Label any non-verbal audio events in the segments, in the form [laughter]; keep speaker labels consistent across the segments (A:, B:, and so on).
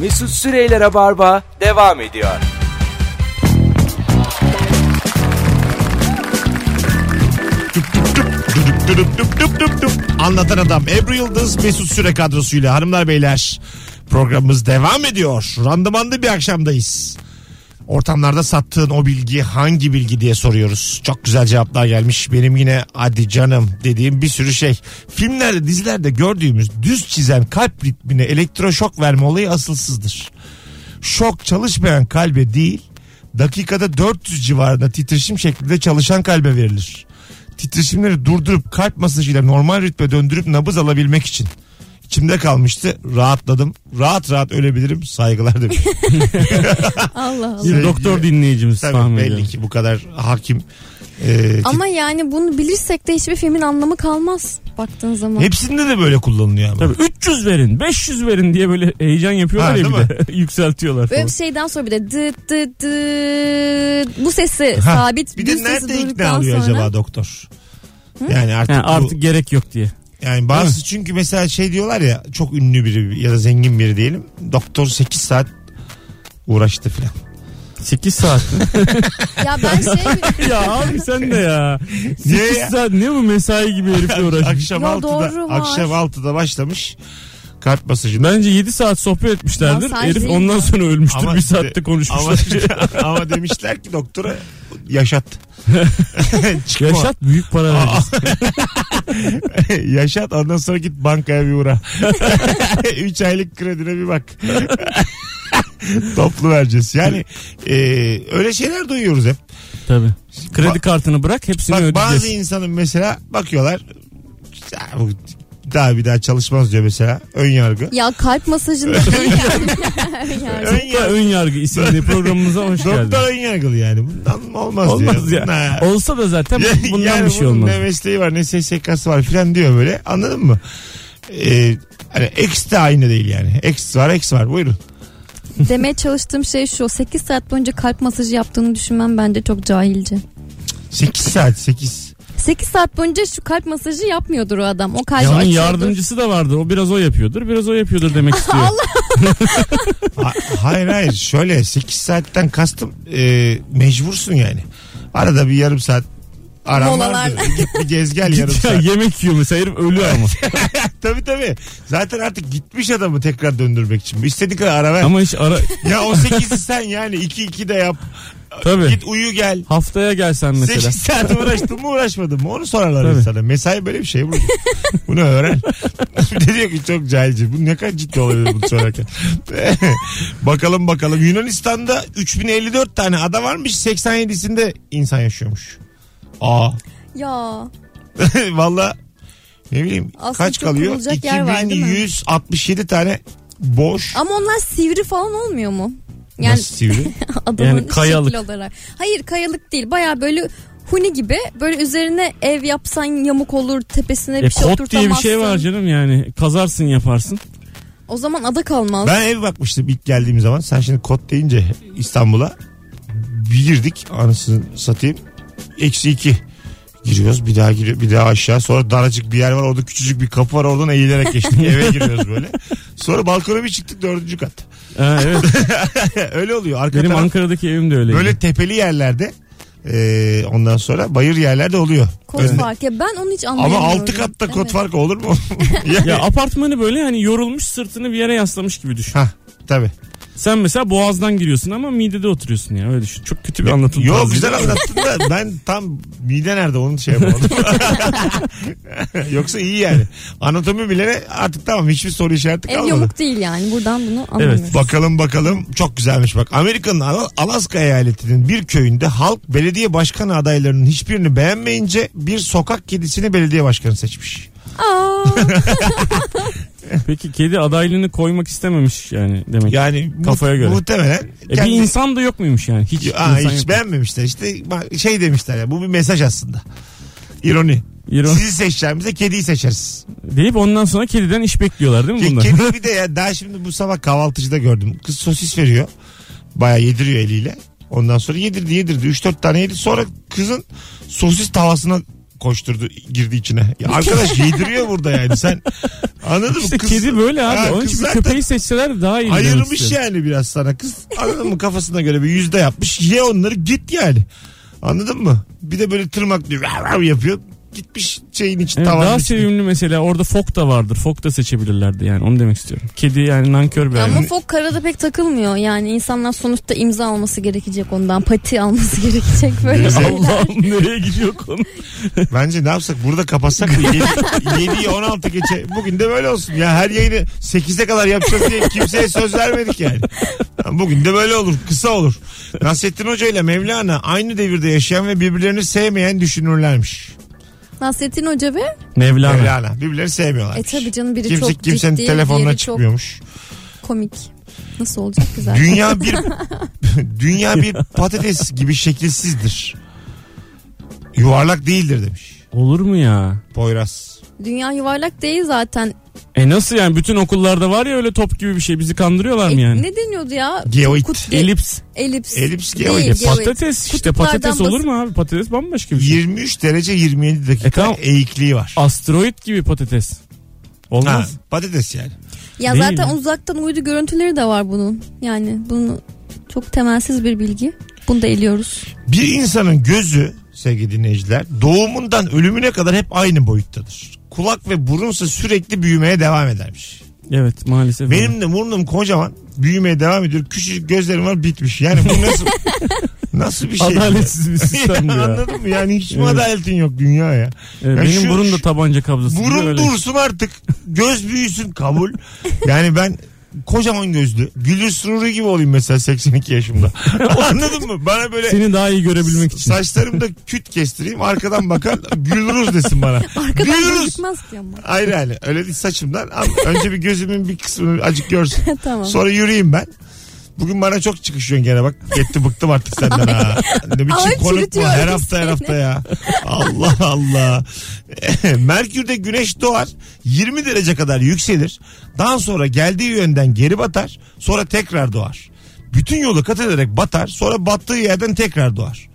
A: Mesut Süreyler'e barba devam ediyor.
B: Düdük düdük düp düp düp düp. Anlatan adam Ebru Yıldız Mesut Süre kadrosuyla hanımlar beyler programımız devam ediyor. Randımanlı bir akşamdayız. Ortamlarda sattığın o bilgi hangi bilgi diye soruyoruz. Çok güzel cevaplar gelmiş. Benim yine hadi canım dediğim bir sürü şey. Filmlerde dizilerde gördüğümüz düz çizen kalp ritmine elektroşok verme olayı asılsızdır. Şok çalışmayan kalbe değil dakikada 400 civarında titreşim şeklinde çalışan kalbe verilir titreşimleri durdurup kalp masajıyla normal ritme döndürüp nabız alabilmek için. İçimde kalmıştı. Rahatladım. Rahat rahat ölebilirim. Saygılar demiş.
C: Allah Allah.
B: Sevgili-
D: Bir doktor dinleyicimiz
B: Tabii
D: tahmin
B: belli
D: ediyorum.
B: ki bu kadar hakim. Ee,
C: Ama yani bunu bilirsek de hiçbir filmin anlamı kalmaz baktığın zaman.
B: hepsinde de böyle kullanılıyor ama.
D: Tabii 300 verin, 500 verin diye böyle heyecan yapıyorlar
B: Ha,
D: ya
B: değil
D: bir de. [laughs] Yükseltiyorlar
C: Böyle
D: falan.
C: bir şeyden sonra bir de dı dı dı bu sesi
B: Ha,
C: sabit
B: Bir
C: düz
B: de
C: sesi
B: nerede ikna
C: duyduktan
B: alıyor
C: sonra-
B: acaba doktor? Yani artık,
D: Yani
B: bu-
D: artık gerek yok diye.
B: yani
D: Değil
B: bazı çünkü mesela şey diyorlar ya çok ünlü biri ya da zengin biri diyelim. Doktor 8 saat uğraştı filan.
D: 8 saat.
C: Ya ben şey
D: [laughs]
B: [laughs]
D: ya abi sen de ya.
B: Niye
D: 8
B: ya?
D: saat ne bu mesai gibi herifle
B: [laughs]
D: uğraşmış.
B: Akşam
C: Ya
B: 6'da
C: doğru var.
B: akşam 6'da başlamış kalp masajı.
D: Bence 7 saat sohbet etmişlerdir.
C: Masaj
D: Herif
C: değil
D: ondan
C: mi?
D: sonra ölmüştür.
B: Ama
D: bir
B: işte-
D: saatte
B: Ama, şey-
D: konuşmuşlar.
B: ama [laughs] demişler ki doktora yaşat. Çıkma.
D: [laughs] Yaşat büyük para veririz.
B: [laughs] yaşat ondan sonra git bankaya bir
D: [laughs]
B: uğra. 3 aylık kredine bir bak. [laughs] Toplu vereceğiz. Yani e, öyle şeyler duyuyoruz hep.
D: Tabii. Kredi kartını bırak hepsini
B: Bak
D: ödeyeceğiz.
B: bazı insanın mesela bakıyorlar "Ya bu daha bir daha çalışmaz diyor mesela ön yargı.
C: ya kalp
B: [laughs]
C: masajında değil [laughs] yani. yani.
B: Ön
D: Ya
B: yargı.
D: Ön
B: [laughs]
D: yargı isimli programımıza hoş geldin.
B: Doktor ön yargılı yani. Bundan olmaz,
D: Olmaz
B: diyor. [laughs]
D: ya.
B: Ha.
D: Olsa da zaten
B: Ya-
D: bundan
B: yani
D: bir şey
B: bunun
D: olmaz.
B: Ne mesleği var ne SSK'sı var filan diyor böyle anladın mı? Ee, hani X de aynı değil yani. X var X var buyurun.
C: Demeye çalıştığım şey şu 8 saat boyunca kalp masajı yaptığını düşünmem bence çok cahilce.
B: 8 saat 8.
C: 8 saat boyunca şu kalp masajı yapmıyordur o adam. O kalbi
D: E, Onun
C: açıyordur. [laughs]
D: yardımcısı da vardır. O biraz o yapıyordur. Biraz o
B: [laughs]
D: yapıyordur demek istiyor.
B: Ha- hayır hayır şöyle 8 saatten kastım e, mecbursun yani. Arada bir yarım saat aram
C: Molalar.
B: vardır. Git bir gez
D: [laughs]
B: gel yarım
D: Git ya
B: saat.
D: yemek yiyor mesela herif ölü ama.
B: [laughs] tabii tabii. Zaten artık gitmiş adamı tekrar döndürmek için. İstediği kadar ara ver.
D: ama hiç ara...
B: Ya o 8'i sen yani 2-2 de yap.
D: Tabii.
B: Git uyu gel.
D: Haftaya gelsen mesela.
B: 8 saat uğraştın mı uğraşmadın mı onu sorarlar
D: Tabii.
B: insana. Mesai böyle bir şey bu. Bunu öğren. [laughs] Bir de diyor ki çok cahilce. Bu ne kadar ciddi olabilir bunu sorarken. [laughs] bakalım bakalım. Yunanistan'da 3054 tane ada varmış. 87'sinde insan yaşıyormuş. Aa. [laughs]
C: Ya
B: Valla ne bileyim
C: Aslında
B: kaç
C: çok
B: kalıyor?
C: kurulacak yer var, değil mi?
B: 2167 tane boş.
C: ama onlar sivri falan olmuyor mu? Yani
B: Nasıl sivri?
C: adamın
D: Yani kayalık.
C: şekli olarak. Hayır kayalık değil. Baya böyle huni gibi böyle üzerine ev yapsan yamuk olur tepesine
D: E,
C: bir şey
D: kot diye bir şey var
C: oturtamazsın.
D: canım yani. Kazarsın yaparsın.
C: O zaman ada kalmaz.
B: Ben ev bakmıştım ilk geldiğim zaman. Sen şimdi kod deyince İstanbul'a bir girdik anasını satayım. Eksi iki. Giriyoruz bir daha giriyor bir daha aşağı sonra daracık bir yer var orada küçücük bir kapı var oradan eğilerek geçtik eve giriyoruz böyle. Sonra balkona bir çıktık dördüncü kat.
D: Ha,
B: [laughs]
D: evet.
B: Öyle oluyor arka
D: Benim
B: taraf
D: Ankara'daki evim de öyle.
B: böyle tepeli yerlerde e, ondan sonra bayır yerlerde oluyor.
C: Kot
B: Önde-
C: farkı. Ya Ben onu hiç
B: Ama
C: anlayamıyorum.
B: altı katta kot
C: Evet.
B: farkı olur mu? [laughs] ya,
D: Ya apartmanı böyle hani yorulmuş sırtını bir yere yaslamış gibi düşün.
B: Hah tabii.
D: Sen mesela boğazdan giriyorsun ama midede oturuyorsun ya öyle düşün. Çok kötü bir anlatım.
B: Yok
D: tarzı.
B: güzel anlattın da ben tam mide nerede onu şey
D: [laughs]
B: yapamadım. Yoksa iyi yani. Anatomi bile artık tamam hiçbir soru işareti
C: Ev
B: kalmadı.
C: yamuk değil yani. Buradan bunu anlamıyorum.
B: Bakalım bakalım çok güzelmiş bak. Amerika'nın Al- Alaska eyaletinin bir köyünde halk belediye başkanı adaylarının hiçbirini beğenmeyince bir sokak kedisini belediye başkanı seçmiş.
D: [laughs]
C: Aa,
D: Peki kedi adaylığını koymak istememiş yani demek.
B: Yani mu-
D: Kafaya göre.
B: muhtemelen
D: E,
B: kendi-
D: bir insan da yok muymuş yani? Hiç
B: Aa,
D: insan
B: hiç
D: yok.
B: beğenmemişler işte bak, şey demişler ya bu bir mesaj aslında. İroni.
D: İron-
B: Sizi seçeceğimize kediyi seçeriz.
D: deyip ondan sonra kediden iş bekliyorlar değil mi
B: Ke-
D: bunlar?
B: Kedi bir de ya daha şimdi bu sabah kahvaltıcıda gördüm. Kız sosis veriyor. Baya yediriyor eliyle. Ondan sonra yedirdi yedirdi. 3-4 tane yedi. Sonra kızın sosis tavasına koşturdu girdi içine. Ya
D: [laughs]
B: arkadaş yediriyor burada yani sen anladın mı?
D: [laughs] İşte
B: Kız-
D: kedi böyle abi.
B: Ha,
D: Onun
B: kız
D: için bir
B: zaten
D: köpeği seçseler daha iyi. demek
B: Ayırmış
D: istiyorum.
B: yani biraz sana kız. Anladın mı? Kafasına göre bir yüzde yapmış. Ye onları git yani. Anladın mı? Bir de böyle tırmaklıyor. Rav rav yapıyor. Gitmiş şeyin için
D: Evet,
B: tavanın
D: daha
B: içine.
D: sevimli mesela orada fok da vardır. Fok da seçebilirlerdi yani onu demek istiyorum. Kedi yani nankör bir
C: Ya Ama
D: hayvan.
C: fok karada pek takılmıyor yani insanlar sonuçta imza alması gerekecek ondan pati alması [laughs] gerekecek böyle
B: Bize-
C: şeyler.
D: Allah'ım nereye gidiyor
B: [laughs]
D: konu?
B: Bence ne yapsak burada kapatsak mı? 7'yi 16 geçe. Bugün de böyle olsun. Ya her yayını 8'e kadar yapacağız diye kimseye söz vermedik yani. Bugün de böyle olur. Kısa olur. Nasrettin Hoca ile Mevlana aynı devirde yaşayan ve birbirlerini sevmeyen düşünürlermiş.
C: Nasrettin Hoca ve
D: Mevlana.
B: Mevlana. Birbirlerini sevmiyorlar.
C: e tabi canım biri
B: Kimse
C: çok
B: kimsenin
C: ciddi
B: telefonuna
C: diğeri
B: çıkmıyormuş.
C: çok komik. Nasıl olacak güzel.
B: Dünya bir [laughs] dünya bir patates gibi şekilsizdir. Yuvarlak değildir demiş.
D: Olur mu ya?
B: Poyraz.
C: Dünya yuvarlak değil zaten.
D: E nasıl yani bütün okullarda var ya öyle top gibi bir şey bizi kandırıyorlar
C: E,
D: mı yani?
C: Ne deniyordu ya?
B: Geoid.
C: Kut-
D: Elips.
C: Elips.
B: Elips
C: Değil,
B: geoid.
D: E,
C: geoid.
D: patates işte
C: Kutuplardan
D: patates olur
C: basın-
D: mu abi? Patates bambaşka bir şey.
B: 23 derece 27 dakika
D: E tamam.
B: eğikliği var.
D: Asteroid gibi patates.
B: Ha,
D: Olmaz.
B: patates yani.
C: Ya
D: Değil
C: zaten
D: mi?
C: uzaktan uydu görüntüleri de var bunun. Yani bunu çok temelsiz bir bilgi. Bunu da eliyoruz.
B: Bir insanın gözü sevgili dinleyiciler doğumundan ölümüne kadar hep aynı boyuttadır. Kulak ve burunsa sürekli büyümeye devam edermiş.
D: Evet maalesef.
B: Benim de burnum kocaman büyümeye devam ediyor. Küçücük gözlerim var bitmiş. Yani bu nasıl [laughs] nasıl bir şey?
D: Adaletsiz bir sistem
B: [laughs]
D: bu
B: Ya,
D: ya.
B: Anladın mı? Yani hiç mi
D: Evet.
B: adaletin yok dünya ya?
D: Evet,
B: Ya
D: E, benim
B: şu-
D: burun da tabanca kabzası. gibi
B: Burun
D: öyle.
B: dursun artık. Göz büyüsün kabul. Yani ben kocaman gözlü. Gülür sururi gibi olayım mesela 82 yaşımda. Anladın mı? Bana böyle
D: Seni daha iyi görebilmek için.
B: saçlarımda küt kestireyim. Arkadan bakar gülürüz desin bana.
C: Arkadan
B: gülürüz.
C: gözükmez ki ama.
B: Hayır yani öyle değil saçımdan. Al, Önce bir gözümün bir kısmını acık görsün.
C: tamam.
B: Sonra yürüyeyim ben. Bugün bana çok çıkışıyorsun gene bak. Yetti bıktım artık senden ha. Ne biçim
C: Ay,
B: konuk bu
C: çürütüyorum
B: her hafta her hafta ya. Allah Allah. Eh, Merkür'de güneş doğar. 20 derece kadar yükselir. Daha sonra geldiği yönden geri batar. Sonra tekrar doğar. Bütün yolu kat ederek batar. Sonra battığı yerden tekrar doğar.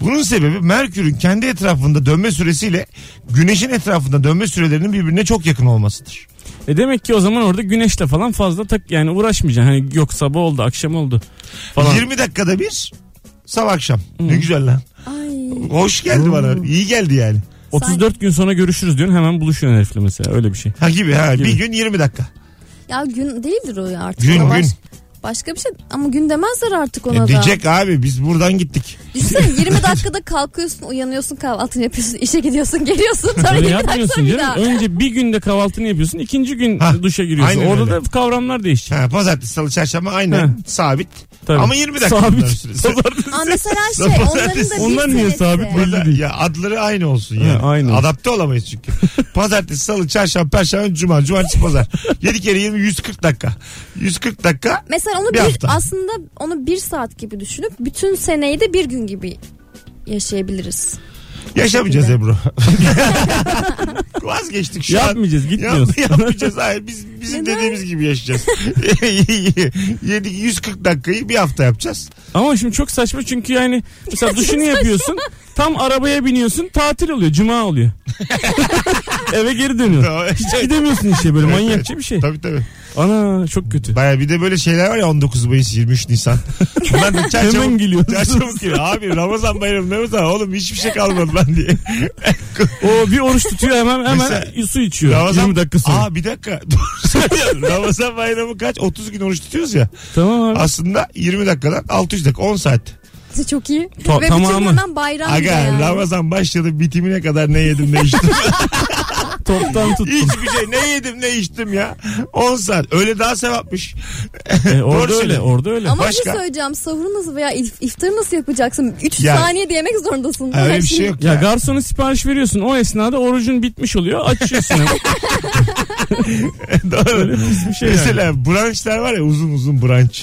B: Bunun sebebi Merkür'ün kendi etrafında dönme süresiyle güneşin etrafında dönme sürelerinin birbirine çok yakın olmasıdır.
D: E demek ki o zaman orada güneşle falan fazla tak yani uğraşmayacaksın. Hani yok sabah oldu akşam oldu falan.
B: 20 dakikada bir sabah akşam. Ne güzel lan.
C: Ay.
B: Hoş geldi
D: Hmm.
B: bana. İyi geldi yani.
D: 34 gün sonra görüşürüz diyorsun hemen buluşuyorsun herifle mesela öyle bir şey.
B: Ha gibi ha.
D: Gibi.
B: Bir gün 20 dakika.
C: Ya gün değildir o ya artık.
B: Gün,
C: Ona baş-
B: gün.
C: Başka bir şey ama gün demezler artık
B: E,
C: ona da.
B: diyecek abi biz buradan gittik.
C: Düşünsene
D: [laughs]
C: 20 dakikada kalkıyorsun uyanıyorsun kahvaltını yapıyorsun işe gidiyorsun geliyorsun sonra
D: Öyle
C: 20 dakika
D: yapmıyorsun
C: sonra bir
D: canım.
C: daha.
D: Önce bir günde kahvaltını yapıyorsun ikinci gün
B: Ha,
D: duşa giriyorsun.
B: aynen
D: orada
B: öyle.
D: da kavramlar değişecek.
B: Ha, pazartesi, salı, çarşamba aynen
D: Ha.
B: sabit.
D: Tabii.
B: Ama 20 dakika bunların süresi.
D: Sabit. Pazartesi.
C: Aa, mesela
D: [laughs]
C: şey onların da bir
D: Onlar niye
C: senesi.
D: sabit böyle?
B: Pazar-
D: değil.
B: ya adları aynı olsun yani.
D: Ha, aynı.
B: Adapte olamayız
D: [laughs]
B: çünkü. Pazartesi, salı, çarşamba, perşembe, cuma, cumartesi, pazar. 7 kere 20 140 dakika. 140 dakika
C: Mesela onu
B: Bir
C: bir,
B: hafta.
C: aslında onu bir saat gibi düşünüp bütün seneyi de bir gün gibi yaşayabiliriz. [laughs]
B: yaşamayacağız Ebru. [laughs] Vazgeçtik şu an.
D: Yapmayacağız gitmiyoruz.
B: Yap- yapmayacağız. Hayır biz bizim
C: Neden?
B: dediğimiz gibi yaşayacağız. [laughs] 7 140 dakikayı bir hafta yapacağız. [laughs]
D: Ama şimdi çok saçma çünkü yani mesela duşunu yapıyorsun tam arabaya biniyorsun tatil oluyor cuma
B: [laughs]
D: oluyor. Eve geri dönüyorsun.
B: Tamam.
D: Hiç gidemiyorsun işe böyle manyakça bir şey.
B: Tabii tabii.
D: Ana çok kötü.
B: Baya bir de böyle şeyler var ya 19 Mayıs 23 Nisan. Bunlar da çarçabuk.
D: Hemen geliyorsun.
B: Çarçabuk gibi. Abi Ramazan bayramı ne Ramazan oğlum hiçbir şey kalmadı ben
D: [laughs]
B: diye.
D: O bir oruç
B: [laughs]
D: tutuyor hemen hemen
B: Mesela-
D: su içiyor.
B: Ramazan,
D: 20 dakika sonra.
B: Aa bir dakika. [laughs] Dur, söylüyorum. Ramazan bayramı kaç? 30 gün oruç tutuyoruz ya.
D: tamam abi.
B: Aslında 20 dakikadan 600 dakika 10 saat.
C: Çok iyi.
D: Ta-
C: Ve bütün
D: tamamı.
C: hemen bayram
B: Aga
C: Aga, yani.
B: Ramazan başladı bitimine kadar ne yedim ne içtim. [laughs]
D: Toptan tut.
B: Hiçbir şey ne yedim ne içtim ya. 10 saat. Öyle daha sevapmış.
D: E,
B: Doğru
D: orada öyle
B: söylüyorsun.
D: orada öyle.
C: Ama bir
B: Başka?
C: şey söyleyeceğim sahuru nasıl veya if- iftarı nasıl yapacaksın? 3
B: Ya-
C: saniye de yemek zorundasın.
B: Ha, Öyle
C: Yani
B: bir şey
C: şimdi-
B: yok
D: Ya
B: ya.
D: garsona sipariş veriyorsun. O esnada orucun bitmiş oluyor.
B: [laughs]
D: Açıyorsun hemen.
B: [laughs] Doğru.
D: Pis bir şey yani.
B: Mesela brunchlar var ya uzun uzun brunch.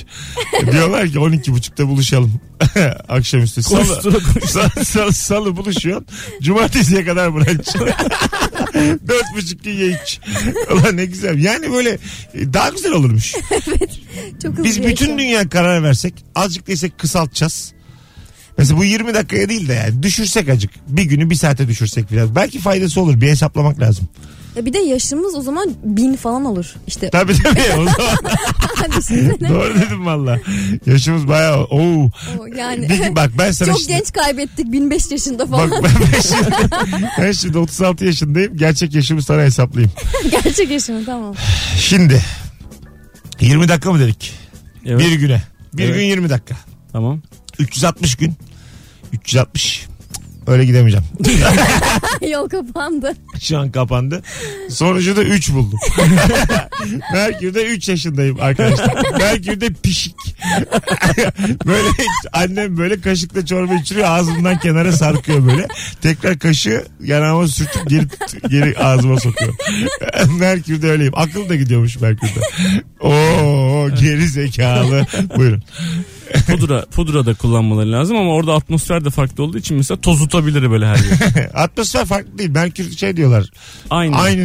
B: E, Diyorlar ki 12.30'da buluşalım. [laughs] Akşamüstü. Salı, [laughs]
D: Koştura koş-
B: salı, salı, salı buluşuyorsun. Cumartesiye kadar brunch. [laughs] Dört buçuk gün ye iç. Ulan ne güzel. Yani böyle e, daha güzel olurmuş.
C: Çok hızlı
B: Biz bütün
C: yaşıyor.
B: dünya karar versek azıcık desek kısaltacağız. Mesela bu 20 dakikaya değil de yani düşürsek acık. Bir günü bir saate düşürsek biraz. Belki faydası olur. Bir hesaplamak lazım.
C: Ya bir de yaşımız o zaman bin falan olur.
B: [laughs]
C: İşte [laughs] hani
B: Tabii tabii. O zaman
C: düşünsene.
B: Doğru dedim valla. Yaşımız bayağı. Oo.
C: O yani
B: Bir,
C: [laughs]
B: bak ben sana
C: çok
B: şimdi-
C: genç kaybettik 1005 yaşında
B: Bak
C: falan. [laughs]
B: ben, ben şimdi, ben şimdi 36 yaşındayım. Gerçek yaşımı sana hesaplayayım.
C: Gerçek yaşımı tamam. [laughs]
B: Şimdi 20 dakika mı dedik?
D: Evet.
B: Bir güne. Bir
D: Evet.
B: gün 20 dakika.
D: Tamam.
B: 360 gün. 360. Öyle gidemeyeceğim.
C: Yol kapandı.
B: Şu an kapandı. Sonucu da 3 buldum. [laughs] Merkür'de 3 yaşındayım arkadaşlar. Merkür'de pişik. [laughs] böyle annem böyle kaşıkla çorba içiriyor ağzımdan kenara sarkıyor böyle. Tekrar kaşığı yanağıma sürtüp geri, geri ağzıma sokuyor. [laughs] Merkür'de öyleyim. Akıl da gidiyormuş Merkür'de. Oo geri zekalı. Buyurun. [laughs]
D: Pudra, pudra da kullanmaları lazım ama orada atmosfer de farklı olduğu için mesela tozutabilir böyle her yer.
B: Atmosfer farklı değil. Merkür şey diyorlar.
D: Aynı. Aynı.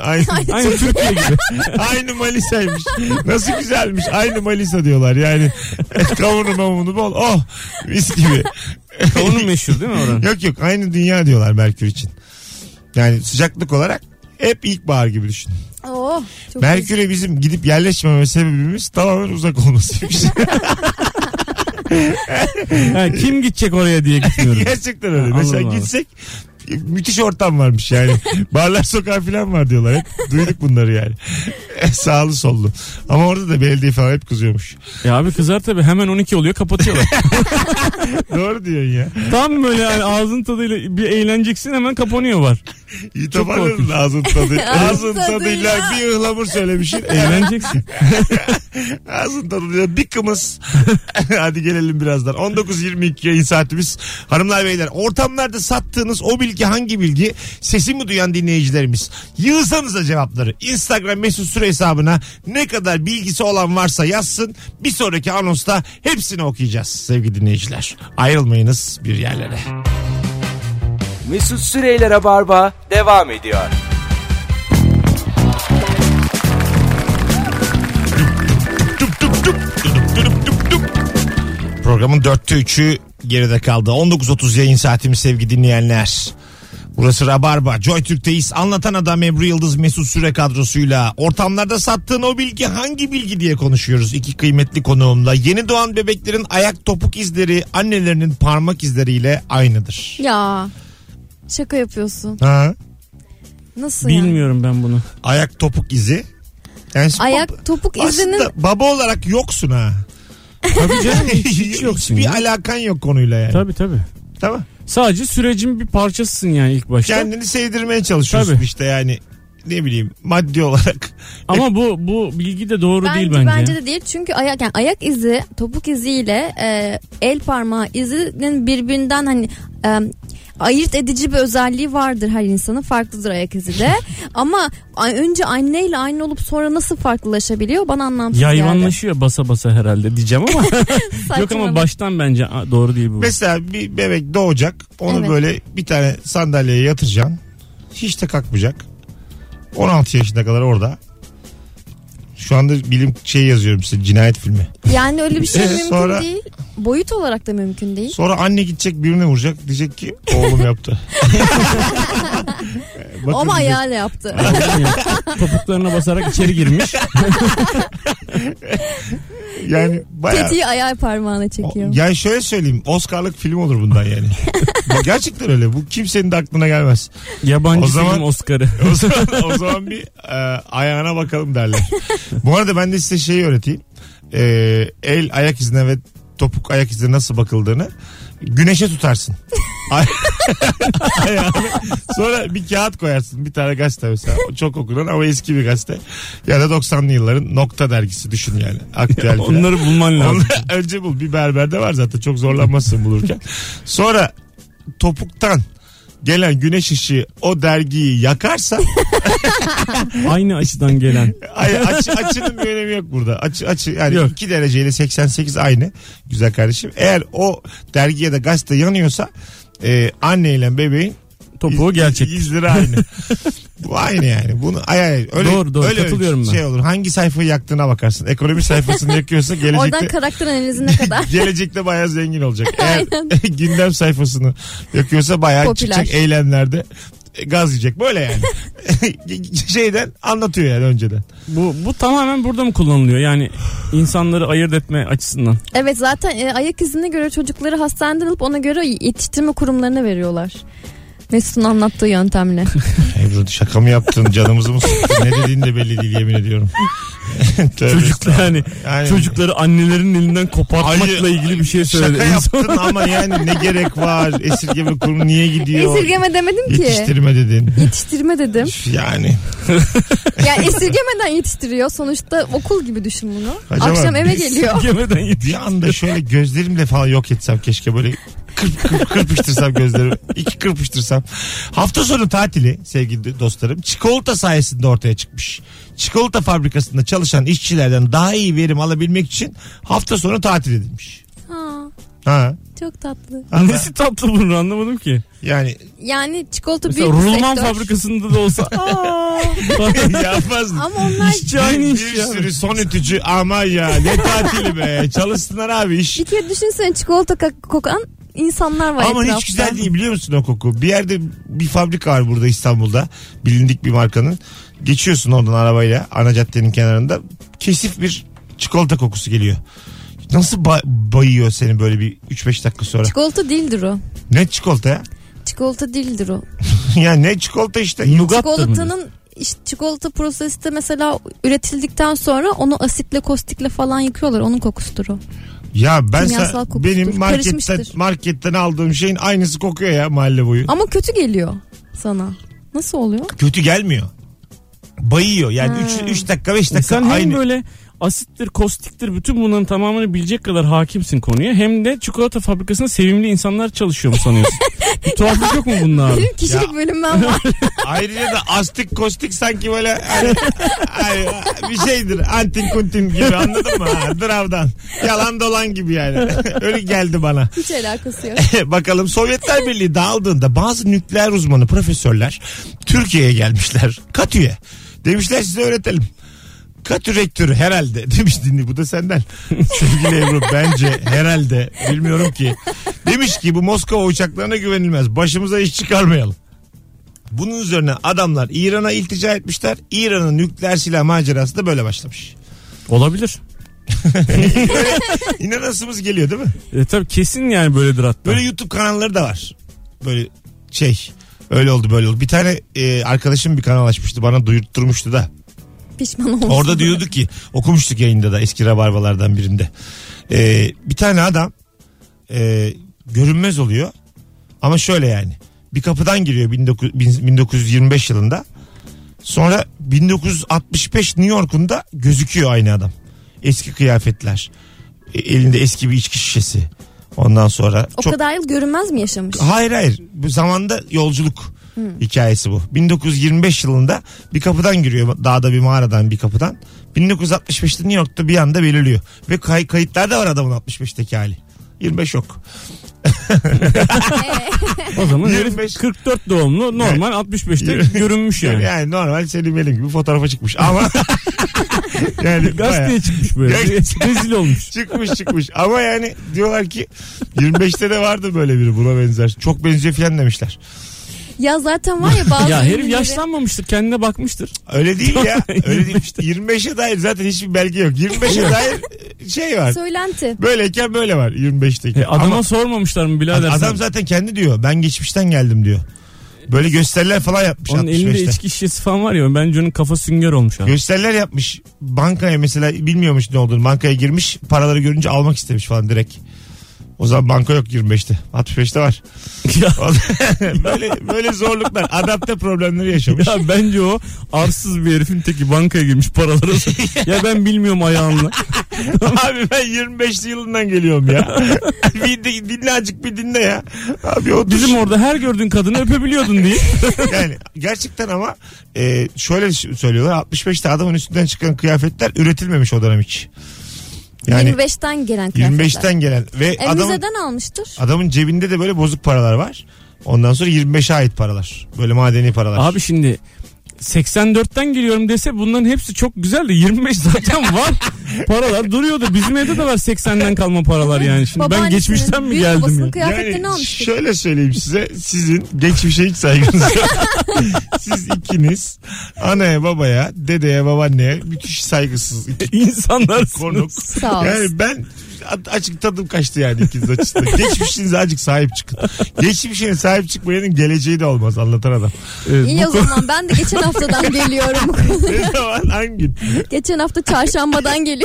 B: Aynı tü- aynı
D: Türkiye gibi.
B: Aynı Malisa'ymış. Nasıl güzelmiş. Aynı Malisa diyorlar yani. [laughs] Kavunu mamunu bol. Oh mis gibi.
D: Kavunun meşhur değil mi oranın?
B: Yok yok aynı dünya diyorlar Merkür için. Yani sıcaklık olarak hep ilkbahar gibi düşün.
C: Oo, Oh, çok güzel.
B: Merkür'e bizim gidip yerleşmeme sebebimiz tamamen uzak
D: [laughs]
B: olmasıymış.
D: Ha, kim gidecek oraya diye gitmiyorum.
B: Gerçekten öyle.
D: Ha,
B: Mesela
D: anladım abi.
B: gitsek müthiş ortam varmış
D: [laughs]
B: yani. Barlar sokağı falan var diyorlar. Hep duyduk bunları yani. [laughs] Sağlı sollu. Ama orada da belediye falan hep kızıyormuş.
D: Ya abi kızar tabii hemen 12
B: [laughs]
D: oluyor kapatıyorlar.
B: Doğru diyorsun ya.
D: Tam böyle yani ağzın tadıyla bir eğleneceksin hemen kapanıyor var.
B: İtap
D: Çok
B: alırım
D: korkunç.
B: da ağzın tadı. [laughs] ağzın
C: Ağzın tadıyla.
B: tadıyla bir ıhlamur
D: [laughs]
B: söylemişsin.
D: Eğleneceksin.
B: ağzın tadıyla bir kımız. [laughs] Hadi gelelim birazdan. 19.22 yayın saatimiz. Hanımlar beyler ortamlarda sattığınız o bilgi hangi bilgi? Sesimi duyan dinleyicilerimiz. Yığsanıza cevapları. Instagram mesut süre hesabına ne kadar bilgisi olan varsa yazsın. Bir sonraki anonsta hepsini okuyacağız sevgili dinleyiciler. Ayrılmayınız bir yerlere.
A: Mesut Süreyler'e barba devam ediyor.
B: Dup dup dup, dudup dudup dup dup. Programın dörtte üçü geride kaldı. 19.30 yayın saatimiz sevgili dinleyenler. Burası Rabarba. Joy Türk'teyiz. Anlatan adam Ebru Yıldız Mesut Süre kadrosuyla. Ortamlarda sattığın o bilgi hangi bilgi diye konuşuyoruz. İki kıymetli konuğumla. Yeni doğan bebeklerin ayak topuk izleri annelerinin parmak izleriyle aynıdır.
C: Ya şaka yapıyorsun.
B: Ha?
C: Nasıl yani?
D: Bilmiyorum ben bunu.
B: Ayak topuk izi. Yani şimdi bab-
C: Ayak topuk izinin
B: Aslında baba olarak yoksun ha. [laughs]
D: Tabii canım hiç, hiç yoksun
B: Hiçbir
D: ya.
B: alakan yok konuyla yani.
D: Tabii tabii.
B: Tamam.
D: Sadece sürecin bir parçasısın yani ilk başta.
B: kendini sevdirmeye çalışıyorsun
D: Tabii.
B: işte yani ne bileyim maddi olarak.
D: Ama bu bu bilgi de doğru
C: bence,
D: değil
C: bence.
D: bence.
C: de değil çünkü ayak yani ayak izi topuk iziyle e, el parmağı izinin birbirinden hani e, ayırt edici bir özelliği vardır her insanın farklıdır ayak izi de ama a- önce anneyle aynı olup sonra nasıl farklılaşabiliyor bana anlamsız geldi.
D: Yayvanlaşıyor basa basa herhalde diyeceğim ama yok ama
C: Saçmalama.
D: baştan bence a, doğru değil bu.
B: Mesela bir bebek doğacak onu
C: Evet.
B: böyle bir tane sandalyeye yatıracaksın. Hiç de kalkmayacak. 16 yaşına kadar orada. Şu anda bilim şey yazıyorum size cinayet filmi.
C: yani öyle bir şey
B: Evet,
C: mümkün
B: sonra-
C: değil boyut olarak da mümkün değil
B: Sonra anne gidecek birine vuracak diyecek ki oğlum yaptı. Ee, Bakın
C: ama
B: diyecek.
C: ayağıyla yaptı
D: Yani Topuklarına basarak içeri girmiş.
B: Yani bayağı.
C: tetiği ayağı parmağına çekiyor
B: Ya şöyle söyleyeyim Oscar'lık film olur bundan
C: [laughs]
B: yani. Gerçekten öyle bu kimsenin de aklına gelmez.
D: Yabancı
B: O zaman-
D: film Oscar'ı.
B: O zaman, o zaman bir e, ayağına bakalım derler. Bu arada ben de size şeyi öğreteyim. E, el ayak izine ve topuk ayak izine nasıl bakıldığını güneşe tutarsın. [laughs] Ay- Ayağını. Sonra bir kağıt koyarsın. Bir tane gazete mesela. Çok okunan ama eski bir gazete. Ya da 90'lı yılların nokta dergisi düşün yani. Aktüel falan.
D: Onları bulman lazım.
B: Onları [laughs] önce bul. Bir berberde var zaten. Çok zorlanmazsın bulurken. Sonra topuktan gelen güneş ışığı o dergiyi yakarsa
D: Aynı açıdan gelen.
B: ay, aç, açının bir önemi yok burada. Açı, açı yani
D: Yok.
B: 2 dereceyle 88 aynı. Güzel kardeşim. Eğer o dergiye de gazete yanıyorsa e, anneyle bebeğin
D: Topuğu gerçek.
B: 100 lira
D: [laughs]
B: aynı. Bu aynı yani. Bunu ay ay öyle
D: Doğru, doğru.
B: öyle
D: Katılıyorum ben.
B: şey olur. Hangi sayfayı yaktığına bakarsın. Ekonomi sayfasını
C: [laughs]
B: yakıyorsa
C: Oradan
B: gelecekte
C: karakter analizi ne kadar
B: [laughs] gelecekte bayağı zengin olacak. Eğer [laughs] gündem sayfasını yakıyorsa bayağı
C: Popüler.
B: çıkacak eylemlerde e, gaz yiyecek. Böyle
C: [laughs]
B: yani. [laughs] Şeyden anlatıyor yani önceden.
D: Bu, bu tamamen burada mı kullanılıyor? Yani insanları ayırt etme açısından.
C: Evet zaten e, ayak izine göre çocukları hastaneden alıp ona göre yetiştirme kurumlarına veriyorlar. Mesut'un
B: [laughs]
C: anlattığı yöntemle.
B: Ebru şaka mı yaptın canımızı mı sıktın ne dediğin de belli değil yemin ediyorum. Tövbe
D: [laughs] Çocuklar yani
B: Yani-
D: çocukları annelerin elinden kopartmakla
B: Ay-
D: ilgili bir şey söyledi.
B: Şaka
D: En son-
B: yaptın ama yani ne gerek var? Esirgeme kurumu niye gidiyor?
C: Esirgeme demedim ki.
B: Yetiştirme dedin.
C: Yetiştirme dedim.
B: Yani.
C: Yani esirgemeden yetiştiriyor. Sonuçta okul gibi düşün bunu.
B: Acaba
C: Akşam eve
B: biz- [laughs]
C: geliyor.
D: [laughs] Yemeden yedi.
B: Bir anda şöyle gözlerimle falan yok etsem keşke böyle kırp, kırp, kırpıştırsam gözlerimi. İki kırpıştırsam. Hafta sonu tatili sevgili dostlarım çikolata sayesinde ortaya çıkmış. Çikolata fabrikasında çalışan işçilerden daha iyi verim alabilmek için hafta sonu tatil edilmiş.
C: Ha,
B: Ha.
C: çok tatlı.
B: Ama
D: Nesi tatlı bunu anlamadım ki.
B: yani
C: Yani çikolata
D: Mesela
C: büyük bir
D: rulman
C: sektör.
D: fabrikasında
C: [laughs]
D: da olsa.
B: [laughs] yapmazdım. [laughs]
C: Ama onlar
D: İşçi aynı
B: bir,
D: iş
B: bir
D: ya.
B: sürü son ütücü aman ya ne tatili be çalışsınlar abi iş.
C: bir kere düşünsene çikolata ka- kokan insanlar var
B: Ama
C: etrafta.
B: hiç güzel değil biliyor musun o koku? Bir yerde bir fabrika var burada İstanbul'da. Bilindik bir markanın. Geçiyorsun oradan arabayla ana caddenin kenarında. Kesif bir çikolata kokusu geliyor. Nasıl ba- bayıyor seni böyle bir 3-5 dakika sonra?
C: Çikolata değildir o.
B: ne çikolata ya? [laughs]
C: Çikolata değildir o.
B: ya ne çikolata işte.
D: Nougat da mı?
C: Çikolatanın işte çikolata prosesi de mesela üretildikten sonra onu asitle kostikle falan yıkıyorlar. Onun kokusudur o.
B: Ya ben
C: Kimyasal
B: sa-
C: kokusudur,
B: benim marketten,
C: karışmıştır.
B: marketten aldığım şeyin aynısı kokuyor ya mahalle boyu.
C: Ama kötü geliyor sana. Nasıl oluyor?
B: Kötü gelmiyor. Bayıyor yani
C: Ha.
B: 3 dakika 5 dakika
D: Sen hem
B: aynı.
D: böyle asittir, kostiktir bütün bunların tamamını bilecek kadar hakimsin konuya. Hem de çikolata fabrikasında sevimli insanlar çalışıyor mu
C: [laughs]
D: sanıyorsun? Bir tuhaflık yok mu bunun abi?
C: Benim kişilik
B: Ya.
C: bölünmem
D: [laughs]
C: var.
B: [laughs] Ayrıca da astik kostik sanki böyle hani- hani bir şeydir. Antin kuntin gibi anladın mı? Ha, Dravdan. Yalan dolan gibi yani. [laughs] Öyle geldi bana.
C: Hiç alakası yok.
B: [laughs] Bakalım Sovyetler Birliği dağıldığında bazı nükleer uzmanı profesörler Türkiye'ye gelmişler. [laughs] Katü'ye. Demişler size öğretelim. Katü rektörü herhalde [laughs] demiş dinli bu da senden. [laughs] Sevgili Ebru bence herhalde bilmiyorum ki. Demiş ki bu Moskova uçaklarına güvenilmez. Başımıza iş çıkarmayalım. Bunun üzerine adamlar İran'a iltica etmişler. İran'ın nükleer silah macerası da böyle başlamış. [laughs]
D: Olabilir.
B: İnanasımız geliyor değil mi?
D: E, tabii kesin yani böyledir hatta.
B: Böyle YouTube kanalları da var. Böyle şey öyle oldu böyle oldu. Bir tane e, arkadaşım bir kanal açmıştı bana duyurtturmuştu da.
C: Pişman olmuşum.
B: Orada diyordu ki okumuştuk yayında da eski rabarbalardan birinde. E, bir tane adam e, görünmez oluyor ama şöyle yani bir kapıdan giriyor 19 bin- 1925 yılında. Sonra 1965 New York'unda gözüküyor aynı adam. Eski kıyafetler. e, Elinde eski bir içki şişesi. Ondan sonra
C: O kadar yıl görünmez mi yaşamış?
B: Hayır hayır. Bu zamanda yolculuk hikayesi bu. 1925 yılında bir kapıdan giriyor. Dağda bir mağaradan bir kapıdan. 1965'te New York'ta bir anda belirliyor. Ve kay- kayıtlarda var adamın 65'teki hali. 25 yok.
D: O zaman herif
B: 25.
D: 44 doğumlu normal 65'te görünmüş
B: Yani,
D: yani.
B: normal senin benim gibi fotoğrafa çıkmış ama yani bayağı
D: Gazeteye çıkmış böyle.
B: Gerçekten.
D: Rezil olmuş.
B: çıkmış çıkmış ama yani diyorlar ki 25'te de vardı böyle biri buna benzer. Çok benziyor filan demişler.
C: Ya zaten var ya bazı
D: [laughs] Ya herif
C: ünlüleri-
D: yaşlanmamıştır kendine bakmıştır.
B: Öyle değil ya. Öyle değil.
D: İşte.
B: 25'e dair zaten hiçbir belge yok. 25'e dair şey var.
C: Söylenti.
B: Böyleyken böyle var 25'teki.
D: E, adama
B: Ama
D: sormamışlar mı birader
B: adam
D: sen?
B: zaten kendi diyor. Ben geçmişten geldim diyor. Böyle gösteriler falan yapmış
D: Onun elinde
B: 65'te.
D: içki şişesi falan var ya bence onun kafa sünger olmuş abi.
B: Gösteriler yapmış. Bankaya mesela bilmiyormuş ne olduğunu. Bankaya girmiş. Paraları görünce almak istemiş falan direkt. O zaman banka yok 25'te. 65'te var.
D: [laughs]
B: [laughs]
D: ya,
B: böyle böyle zorluklar. Adapte problemleri
D: [laughs]
B: yaşamış.
D: ya bence o arsız bir herifin teki bankaya girmiş
B: [laughs]
D: paraları. ya ben bilmiyorum ayağını.
B: Abi ben 25'li yılından geliyorum
D: [laughs]
B: ya. bir de- dinle azıcık bir dinle ya. Abi o
D: Bizim orada her gördüğün kadını öpebiliyordun diye.
B: [laughs] yani gerçekten ama e, şöyle ş- söylüyorlar 65'te adamın üstünden çıkan kıyafetler üretilmemiş o dönem hiç. Yani
C: 25'ten gelen kıyafetler.
B: 25'ten gelen ve
C: E,
B: adamın,
C: müzeden almıştır.
B: adamın cebinde de böyle bozuk paralar var. Ondan sonra 25'e ait paralar. Böyle madeni paralar.
D: Abi şimdi 84'ten geliyorum dese bunların hepsi çok güzel de 25 zaten var. paralar duruyordu. Bizim evde de var 80'den kalma paralar yani. Şimdi ben
C: Babaannesinin
D: geçmişten mi
C: büyük
D: geldim
C: babasının
D: ya?
C: kıyafetlerini almıştık.
B: şöyle söyleyeyim size sizin geçmişe hiç saygınız
C: [laughs]
B: yok. Siz ikiniz anaya babaya dedeye babaanneye müthiş saygısız iki konuk.
D: İnsanlarsınız.
C: Sağ ol.
B: Yani ben a- açık tadım kaçtı yani ikiniz
D: [laughs]
B: açısından. Geçmişinize azıcık sahip çıkın. Geçmişine sahip çıkmayanın geleceği de olmaz anlatan adam.
D: Evet,
C: İyi
D: bu
C: o zaman ben de geçen haftadan
D: [laughs]
C: geliyorum.
B: [laughs] Ne zaman hangi gün?
C: geçen hafta çarşambadan
D: [laughs]
C: geliyorum.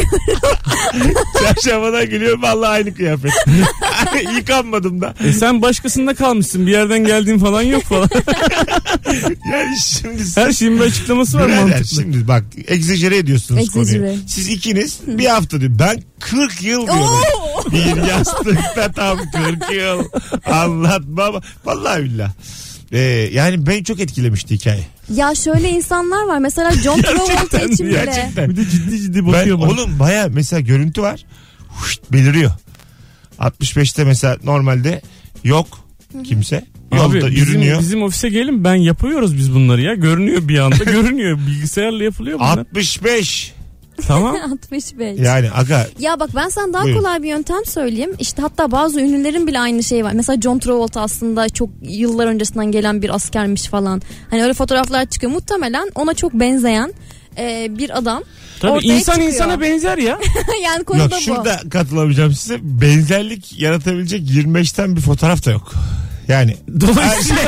B: Çarşambadan geliyorum vallahi aynı kıyafet. [laughs] Yıkanmadım da.
D: E sen başkasında kalmışsın. Bir yerden geldiğin falan
B: [laughs]
D: yok falan.
B: Yani şimdi siz-
D: Her şeyin bir açıklaması var
B: Birader,
D: mantıklı.
B: şimdi bak egzajere ediyorsunuz
C: Egzajere.
B: konuyu. Siz ikiniz bir hafta diyor. Ben 40 yıl diyorum.
C: Oo!
B: Bir yastıkta tam 40 yıl. Anlatmam. Vallahi billah. Ee, yani beni çok etkilemişti hikaye.
C: ya şöyle insanlar var. Mesela John Travolta
D: Gerçekten,
C: için bile.
B: Gerçekten.
D: Bir de ciddi ciddi
B: Ben,
D: bakıyor bana.
B: oğlum baya mesela görüntü var. Huşt, beliriyor. 65'te mesela normalde yok kimse. Yolda
D: Abi bizim,
B: yürünüyor.
D: bizim ofise gelin ben yapıyoruz biz bunları ya. Görünüyor
B: [laughs]
D: bir anda görünüyor. Bilgisayarla yapılıyor bunlar.
B: 65.
D: Tamam.
C: 65.
B: Yani aga
C: Ya bak ben sana daha
B: Buyurun.
C: kolay bir yöntem söyleyeyim. İşte hatta bazı ünlülerin bile aynı şeyi var. Mesela John Travolta aslında çok yıllar öncesinden gelen bir askermiş falan. Hani öyle fotoğraflar çıkıyor. Muhtemelen ona çok benzeyen e, bir adam. [laughs]
D: Tabii
C: Ortaya
D: insan
C: çıkıyor.
D: insana benzer ya.
C: yani
B: Yok
C: konuda bu.
B: şurada katılamayacağım size. Benzerlik yaratabilecek 25'ten bir fotoğraf da yok. Yani
D: Dolayısıyla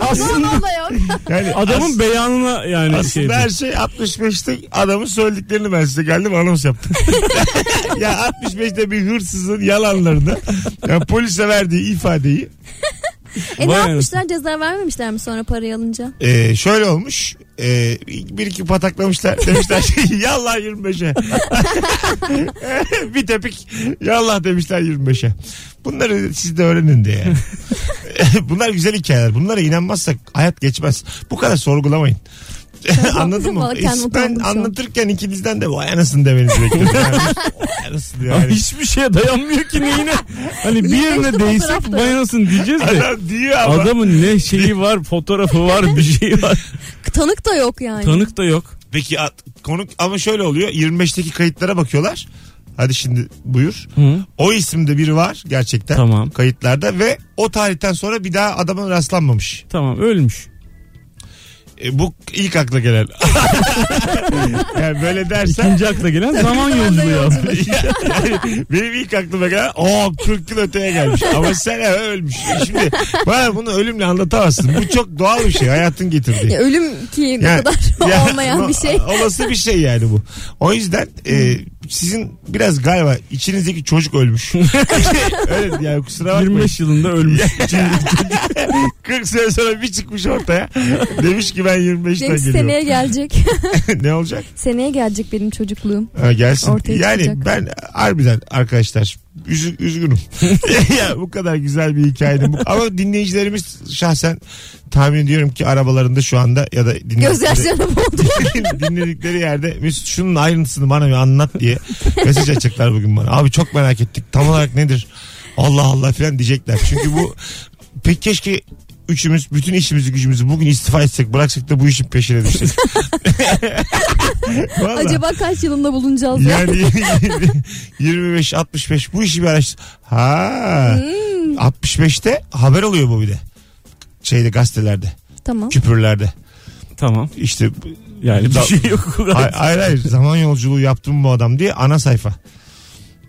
C: Bunun
D: aslında
C: da
D: [laughs]
C: yok.
B: yani
D: adamın beyanına yani
B: as-
D: şey.
B: aslında her şey 65'te adamın söylediklerini ben size geldim anons yaptım. [laughs] ya 65'te bir hırsızın yalanlarını ya polise verdiği ifadeyi
C: e ne
D: Vay
C: yapmışlar ceza vermemişler mi sonra parayı alınca?
B: Ee, şöyle olmuş. Ee, bir iki pataklamışlar. [laughs] Demişler ki, yallah 25'e. [laughs] bir tepik yallah demişler 25'e. Bunları siz de öğrenin diye. [laughs] yani. Bunlar güzel hikayeler. Bunlara inanmazsak hayat geçmez. Bu kadar sorgulamayın. [laughs] Anladın mı?
C: Vallahi kendim
B: Hiç ben
C: utandım şu an.
B: anlatırken ikinizden de vay anasını demenizi
C: [laughs]
B: bekliyorum. Yani, vay anasını
D: Ama
B: şey yani.
D: Hiçbir şeye dayanmıyor ki neyine. Hani bir yerine
C: Yaklaştı
D: değsek
C: fotoğraf da.
D: bayanasın diyeceğiz de.
B: Adam diyor [laughs] ama.
D: Adamın ne şeyi var, fotoğrafı var, bir şeyi var.
C: Tanık da yok yani.
D: Tanık da yok.
B: Peki at- konuk ama şöyle oluyor. 25'teki kayıtlara bakıyorlar. Hadi şimdi buyur.
D: Hı.
B: O isimde biri var gerçekten.
D: Tamam.
B: Kayıtlarda ve o tarihten sonra bir daha adama rastlanmamış.
D: Tamam ölmüş.
B: E, bu ilk akla gelen. [laughs] yani böyle dersen [laughs]
D: İkinci akla gelen zaman
C: Zamanda
D: yolculuğu. abi.
B: yani benim ilk aklıma gelen o 40 yıl öteye gelmiş. Ama sen ha, ölmüş. E, Şimdi bana bunu ölümle anlatamazsın. Bu çok doğal bir şey. Hayatın getirdiği.
C: Ya ölüm ki ne
B: Ya-
C: kadar
B: [laughs] ya-
C: olmayan bir şey.
B: o- Olası bir şey yani bu. O yüzden e, sizin biraz galiba içinizdeki çocuk ölmüş. [laughs] Öyle yani kusura bakmayın.
D: 25 yılında [laughs] ölmüş.
B: 40 sene sonra bir çıkmış ortaya. [laughs] Demiş ki ben 25'ten
C: [laughs] Benim
B: geliyorum.
C: seneye gelecek.
B: [laughs] ne olacak?
C: seneye gelecek benim çocukluğum.
B: Ha, gelsin.
C: Ortaya
B: yani
C: çıkacak.
B: ben harbiden arkadaşlar üzü- [laughs] üzgünüm. ya bu kadar güzel bir hikayeydi. bu. Ama dinleyicilerimiz şahsen tahmin ediyorum ki arabalarında şu anda ya da dinledikleri,
C: Gözyaşlarım oldu.
B: dinledikleri yerde Mesut şunun ayrıntısını bana bir anlat diye mesaj açacaklar bugün bana. Abi çok merak ettik. Tam olarak nedir? Allah Allah falan diyecekler. Çünkü bu pek keşke üçümüz bütün işimizi gücümüzü bugün istifa etsek bıraksak da bu işin peşine düşsek. Vallahi.
C: Acaba kaç yılında bulunacağız
B: [laughs]
C: ya?
B: Yani 25 65 bu işi bir araştır. Ha. 65'te haber oluyor bu bir de. Şeyde gazetelerde,
C: Tamam.
B: küpürlerde.
D: tamam.
B: İşte
D: Yani bir
B: Da-
D: şey yok.
B: hay- hayır hayır zaman yolculuğu yaptım bu adam diye ana sayfa.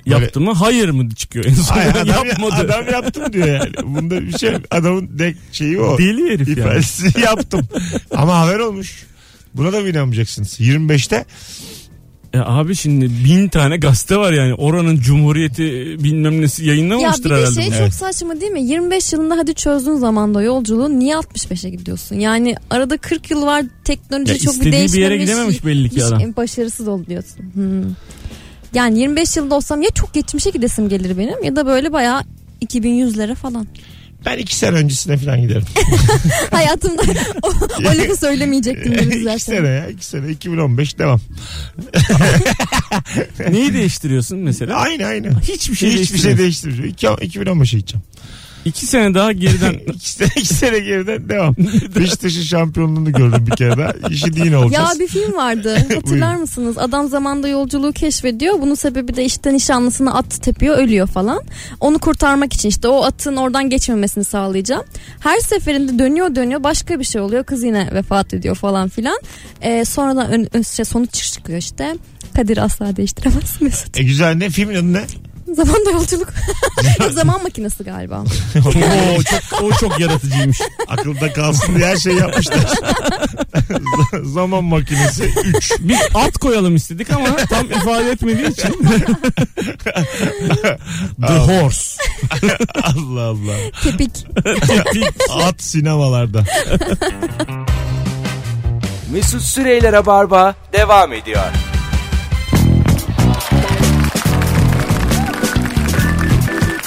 D: Yaptı mı? Hayır mı çıkıyor en sonunda?
B: Hayır, adam,
D: Yapmadı.
B: adam yaptım diyor yani. Bunda bir şey adamın de şeyi o.
D: Deli herif yani.
B: İfadesi [laughs] yaptım. Ama haber olmuş. Buna da mı inanmayacaksınız? 25'te
D: E abi şimdi bin tane gazete var yani. Oranın cumhuriyeti bilmem nesi
C: Ya
D: yayınlamamıştır
C: bir de
D: herhalde.
C: şey
D: bunu.
C: çok saçma değil mi? 25 yılında hadi çözdüğün zamanda yolculuğu niye 65'e gidiyorsun? Yani arada 40 yıl var teknoloji
D: Ya
C: çok bir
D: istediği
C: şey. değişmemiş.
D: bir yere gidememiş belli ki
C: hiç
D: adam.
C: Başarısız oluyorsun. Hmm. Yani 25 yılda olsam ya çok geçmişe gidesim gelir benim ya da böyle bayağı 2100'lere
D: [laughs]
C: falan.
B: ben iki sene öncesine falan giderim.
D: [laughs]
C: Hayatımda o, o lafı
B: [laughs]
C: söylemeyecektim deriz
B: iki sene
C: zaten.
B: ya. iki sene. 2015 devam.
D: Neyi değiştiriyorsun mesela?
B: Aynı aynı.
D: Hiçbir şey
B: Hiçbir şey
D: değiştirmiyorsun.
B: değiştirmiyor. 2015'e gideceğim.
D: İki sene daha [laughs] geriden
B: İki sene, iki sene geriden [laughs] devam. Beşiktaş'ın şampiyonluğunu gördüm bir kere daha. İşi din olacağız.
C: Ya bir
B: [laughs]
C: film vardı hatırlar
B: Buyurun.
C: mısınız? Adam zamanda yolculuğu keşfediyor. Bunun sebebi de işte nişanlısını at tepiyor ölüyor falan. Onu kurtarmak için işte o atın oradan geçmemesini sağlayacağım. Her seferinde dönüyor dönüyor başka bir şey oluyor. Kız yine vefat ediyor falan filan. Ee, sonradan ön, ön- şey, sonuç çıkıyor işte. Kadir asla değiştiremez [laughs] Mesut.
B: E güzel ne? Filmin adı [laughs] ne? [laughs]
C: Zamanda yolculuk. Yok, zaman makinesi galiba.
D: o çok o çok yaratıcıymış.
B: Akılda kalsın diye her şey yapmışlar. [laughs] Zaman makinesi.
D: Biz at koyalım istedik ama tam ifade etmediği için. [laughs] The horse.
B: [laughs] Allah Allah.
C: Tepik.
B: At sinemalarda.
A: Mesut Süreyler'e barba devam ediyor.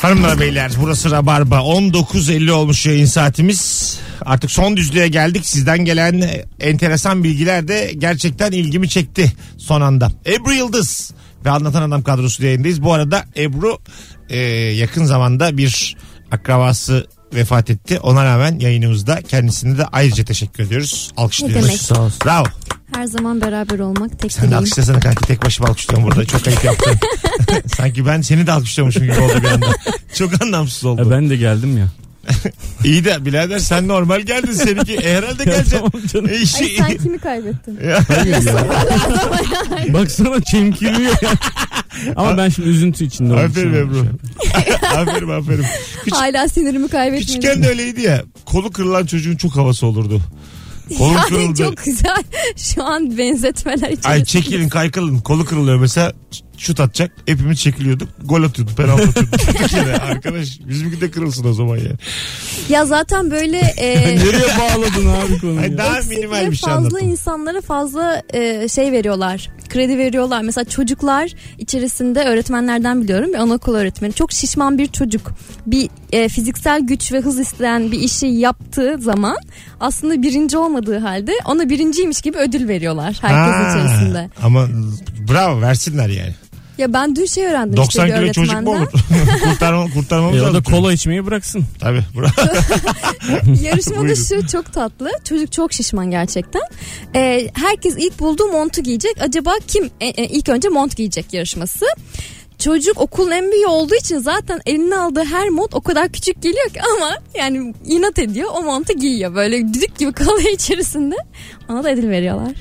B: Hanımlar beyler burası Rabarba 19.50 olmuş yayın saatimiz. Artık son düzlüğe geldik. Sizden gelen enteresan bilgiler de gerçekten ilgimi çekti son anda. Ebru Yıldız ve Anlatan Adam kadrosu yayındayız. Bu arada Ebru e, yakın zamanda bir akrabası vefat etti. Ona rağmen yayınımızda kendisine de ayrıca teşekkür ediyoruz. Alkışlıyoruz.
C: demek. Sağ
D: olsun.
B: Bravo.
C: Her zaman beraber olmak tek
B: Sen de
C: dileğim.
B: alkışlasana kanki tek başıma alkışlıyorum burada. Çok ayıp yaptın. Sanki ben seni de alkışlıyormuşum gibi oldu bir anda. Çok anlamsız oldu.
D: E, ben de geldim ya.
B: İyi de birader sen normal geldin seninki. E, herhalde
C: [laughs]
B: geleceksin.
D: Tamam canım.
B: E, işi-
C: Ay sen kimi kaybettin?
D: Hayır ya. Baksana çemkiriyor ya. Ama ben şimdi üzüntü içinde olmuşum.
B: aferin Ebru. [laughs] aferin aferin. Küçük,
C: Hala sinirimi kaybetmedim.
B: küçükken de öyleydi ya. Kolu kırılan çocuğun çok havası olurdu. Kolum
C: yani
B: kırıldı.
C: çok güzel. [laughs] Şu an benzetmeler için.
B: Ay çekilin kaykılın kolu kırılıyor mesela şut atacak hepimiz çekiliyorduk gol atıyorduk penaltı atıyorduk Durduk yere.
C: [laughs]
B: arkadaş bizimki de kırılsın o zaman ya
C: Ya zaten böyle
B: [laughs]
C: e,
D: Nereye bağladın abi konuyu?
B: Ay,
D: ya?
B: daha
C: eksik
B: minimal
C: ve
B: bir şey
C: fazla
B: anlattım
C: insanlara fazla e, şey veriyorlar. Kredi veriyorlar. Mesela çocuklar içerisinde öğretmenlerden biliyorum. Bir anaokul öğretmeni. Çok şişman bir çocuk. Bir e, fiziksel güç ve hız isteyen bir işi yaptığı zaman aslında birinci olmadığı halde ona birinciymiş gibi ödül veriyorlar herkes
B: Ha,
C: içerisinde.
B: ama bravo versinler yani
C: Ya ben dün şey öğrendim
B: 90
C: işte bir
B: kilo çocuk mu
C: öğretmenden.
B: olur [laughs] Kurtarma, kurtarmamız
D: E, o da
B: lazım
D: kola içmeyi bıraksın.
B: tabii bravo.
D: [laughs]
C: Yarışmada
B: Buyurun.
C: şu çok tatlı. Çocuk çok şişman gerçekten. Ee, herkes ilk bulduğu montu giyecek. Acaba kim e, e, ilk önce mont giyecek yarışması? Çocuk okulun en büyüğü olduğu için zaten eline aldığı her mont o kadar küçük geliyor ki ama yani inat ediyor o montu giyiyor. Böyle düdük gibi kalıyor [laughs] içerisinde. Ona da ödül veriyorlar.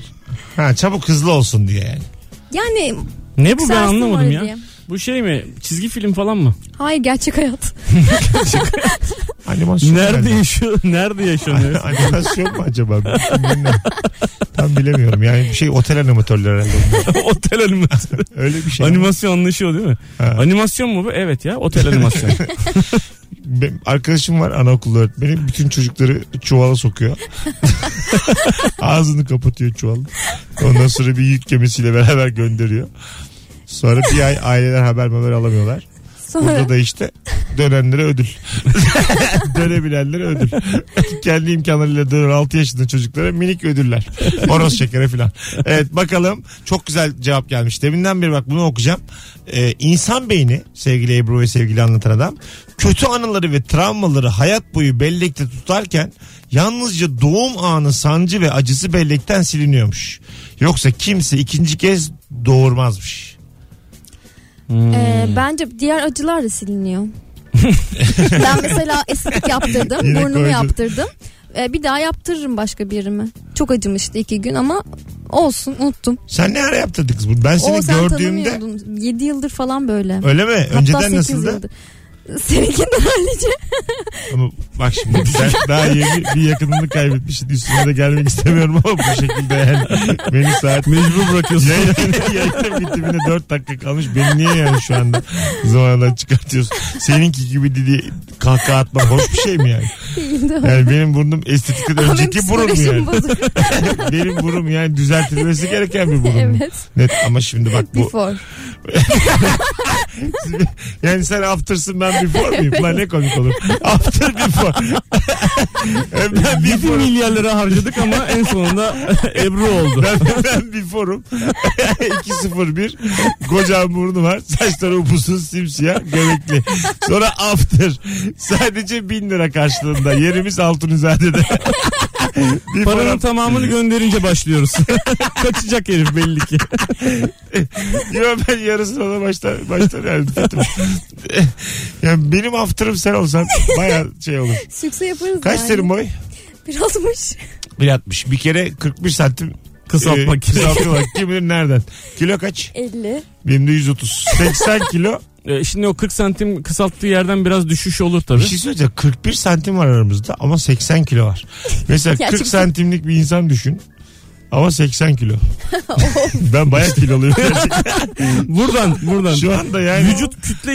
B: ha, çabuk hızlı olsun diye yani
C: Yani
D: Ne bu ben
C: yükselsin
D: anlamadım
C: var
D: ya.
C: diye.
D: Bu şey mi? Çizgi film falan mı?
C: Hayır gerçek hayat.
B: Animasyon
D: Nerede
B: Şey herhalde.
D: yaşıyor? [laughs] Nerede yaşanıyor?
B: [laughs] Animasyon mu acaba? Bilmiyorum. Tam bilemiyorum. Yani bir şey otel animatörleri herhalde. bunlar.
D: Otel animasyonu.
B: Öyle bir şey.
D: Animasyon anlaşıyor değil mi?
B: Ha.
D: Animasyon mu bu? Evet ya.
B: [laughs]
D: Otel animasyonu.
B: Benim arkadaşım var anaokul öğretmeni. Bütün çocukları çuvala sokuyor. [laughs] Ağzını kapatıyor çuval. Ondan sonra bir yük gemisiyle beraber gönderiyor. Sonra bir ay aileler haber haber alamıyorlar.
C: Sonra
B: Burada da işte dönenlere ödül. [laughs] Dönebilenlere ödül. Kendi imkanlarıyla dönen 6 yaşında çocuklara minik ödüller. Horoz şekeri falan. Evet bakalım çok güzel cevap gelmiş. Deminden beri bak bunu okuyacağım. Ee, insan beyni sevgili Ebru ve sevgili anlatan adam kötü anıları ve travmaları hayat boyu bellekte tutarken yalnızca doğum anı sancı ve acısı bellekten siliniyormuş. Yoksa kimse ikinci kez doğurmazmış.
C: e,
B: Hmm.
C: bence diğer acılar da siliniyor.
B: [laughs]
C: ben mesela estetik yaptırdım.
B: Yine
C: burnumu
B: koydun.
C: yaptırdım. Ee, bir daha yaptırırım başka bir yerimi. Çok acımıştı iki gün ama olsun unuttum.
B: Sen ne ara yaptırdın kız bunu? Ben seni
C: o sen
B: E gördüğümde...
C: tanımıyordun. 7 yıldır falan böyle.
B: Öyle mi? Önceden
C: sekiz
B: nasıldı?
C: yıldır. Seninkinden [laughs] hallice.
B: Ama bak şimdi sen daha yeni bir yakınını kaybetmişsin. Üstüne de gelmek istemiyorum ama bu şekilde yani. Beni saat
D: Mecbur bırakıyorsun.
B: yayının, yayının bitimine 4 dakika kalmış. Beni niye yani şu anda zamandan çıkartıyorsun? Seninki gibi dedi kahkaha atmak hoş bir şey mi yani?
C: Değildi.
B: Yani benim burnum estetikten
C: Ama
B: önceki
C: benim
B: burnum
C: psikolojim
B: yani. [laughs]
C: bozuk.
B: benim burnum yani düzeltilmesi gereken bir burnum.
C: evet.
B: Net ama şimdi bak bu
C: Before.
B: yani sen aftersın ben before miyim? Lan ne komik olur. After [laughs] before. ben
D: 7
B: before.
D: milyar lira harcadık ama en sonunda [laughs] Ebru oldu.
B: Ben, ben before'um. [laughs] 201. Kocaman burnu var. Saçları upusuz simsiyah göbekli. Sonra after. Sadece 1000 lira karşılığında. Yerimiz [laughs] Altunizade'de. Before
D: Paranın
B: after.
D: tamamını
B: [laughs]
D: gönderince başlıyoruz. Kaçacak herif belli ki.
B: Yok ben yarısına da başlar, başlar yani. Bitim. [laughs] yani benim after'ım sen olsan baya şey olur.
C: Sükse yaparız
B: Kaç
C: yani.
B: senin boy?
C: Bir [laughs] altmış.
B: 1.60. Bir kere 41 santim
D: Kısaltmak
B: Ee,
D: için.
B: kısaltmak. Kim bilir nereden? Kilo kaç?
C: 50.
B: Benim de 130. 80 kilo.
D: Ee, Şimdi o 40 santim kısalttığı yerden biraz düşüş olur
B: Bir
D: tabii.
B: şey söyleyeceğim. 41 santim var aramızda ama 80 kilo var. Mesela
C: Gerçekten.
B: 40 santimlik bir insan düşün. Ama 80
C: [laughs]
B: kilo. ben bayağı kiloluyum. [laughs]
D: Buradan buradan.
B: Şu anda yani.
D: Vücut kütle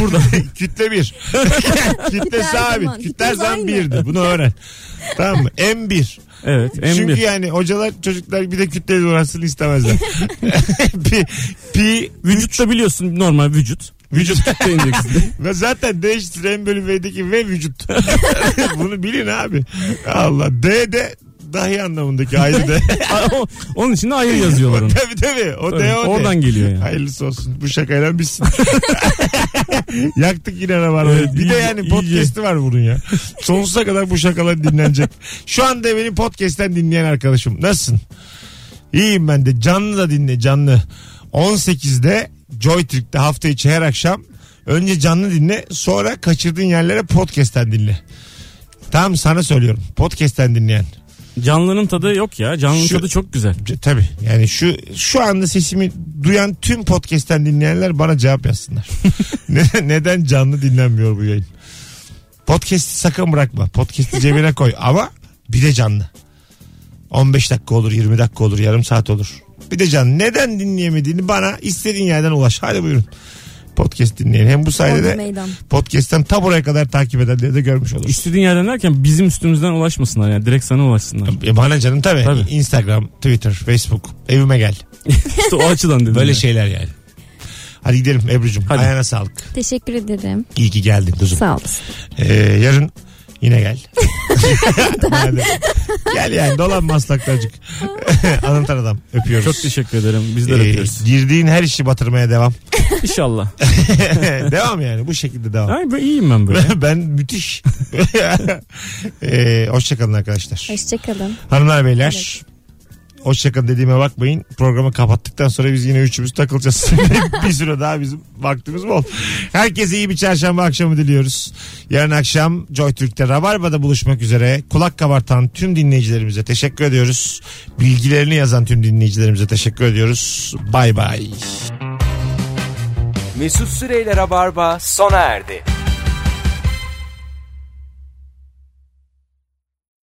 B: [laughs]
D: buradan.
B: Kütle
C: [laughs]
B: bir. kütle
C: Kütle her
B: sabit.
C: zaman.
B: Kütle her
C: Kütlemiz
B: zaman
C: aynı.
B: birdi. Bunu öğren. tamam mı? M1.
D: Evet
B: Çünkü
D: M1.
B: yani hocalar çocuklar bir de kütleyle uğraşsın
C: [laughs]
B: istemezler. [laughs] pi, pi,
D: Vücutta biliyorsun normal vücut.
B: vücut.
D: Kütle indeksinde.
B: [laughs] Ve zaten D eşittir M bölü V'deki V vücut. [laughs] Bunu bilin abi. Allah. D de dahi anlamındaki ayrı D.
D: Aa, o- Onun için de ayrı yazıyorlar onu.
B: tabii tabii. O
D: Tabii,
B: D o D.
D: Oradan geliyor yani.
B: Hayırlısı olsun. Bu şakayla bitsin. [laughs] Yaktık yine arabayı.
D: Evet,
B: bir de
D: iyice,
B: yani
D: iyice.
B: podcast'i var bunun
D: [laughs]
B: ya. Sonsuza kadar bu şakalar dinlenecek. Şu anda beni podcast'ten dinleyen arkadaşım. Nasılsın? İyiyim ben de. Canlı da dinle canlı. 18'de JoyTürk'te hafta içi her akşam önce canlı dinle sonra kaçırdığın yerlere podcast'ten dinle. Tam sana söylüyorum. Podcast'ten dinleyen.
D: Canlının tadı yok ya. Canlının
B: Şu-
D: tadı çok güzel.
B: C- Tabii yani şu şu anda sesimi duyan tüm podcast'ten dinleyenler bana cevap yazsınlar. [laughs] Ne- neden canlı dinlenmiyor bu yayın? Podcast'i sakın bırakma. Podcast'i cebine koy ama bir de canlı. 15 dakika olur, 20 dakika olur, yarım saat olur. Bir de canlı. Neden dinleyemediğini bana istediğin yerden ulaş. Hadi buyurun. Podcast dinleyin. Hem bu sayede
C: Orada
B: de
C: meydan.
B: podcast'ten ta buraya kadar takip edenleri de görmüş olursun.
D: İstediğin yerden derken bizim üstümüzden ulaşmasınlar yani. Direkt sana ulaşsınlar.
B: E bana canım tabii.
D: Tabii.
B: Instagram, Twitter, Facebook. Evime gel.
D: İşte o açıdan dedim.
B: Böyle şey
D: yani.
B: şeyler yani. Hadi gidelim Ebru'cum.
D: Hadi.
B: Ayağına sağlık.
C: Teşekkür ederim.
B: İyi ki geldin kuzum.
C: Sağ olasın.
B: Ee, yarın yine gel. Madem. gel yani dolan maslaklarcık. [laughs] Anlatan adam. Öpüyoruz.
D: Çok teşekkür ederim. Biz de
B: Ee,
D: öpüyoruz.
B: girdiğin her işi batırmaya devam. [laughs]
D: İnşallah.
B: devam yani bu şekilde devam.
D: Ay ben iyiyim ben böyle.
B: [laughs] ben müthiş. [laughs] ee, hoşçakalın arkadaşlar.
C: Hoşçakalın.
B: Hanımlar beyler. Hoşçakalın dediğime bakmayın. Programı kapattıktan sonra biz yine üçümüz takılacağız. [laughs] bir süre daha bizim vaktimiz bol. Herkese iyi bir çarşamba akşamı diliyoruz. Yarın akşam JoyTürk'te Rabarba'da buluşmak üzere. Kulak kabartan tüm dinleyicilerimize teşekkür ediyoruz. Bilgilerini yazan tüm dinleyicilerimize teşekkür ediyoruz. Bay bay.
A: Mesut Süreyler'e barba sona erdi.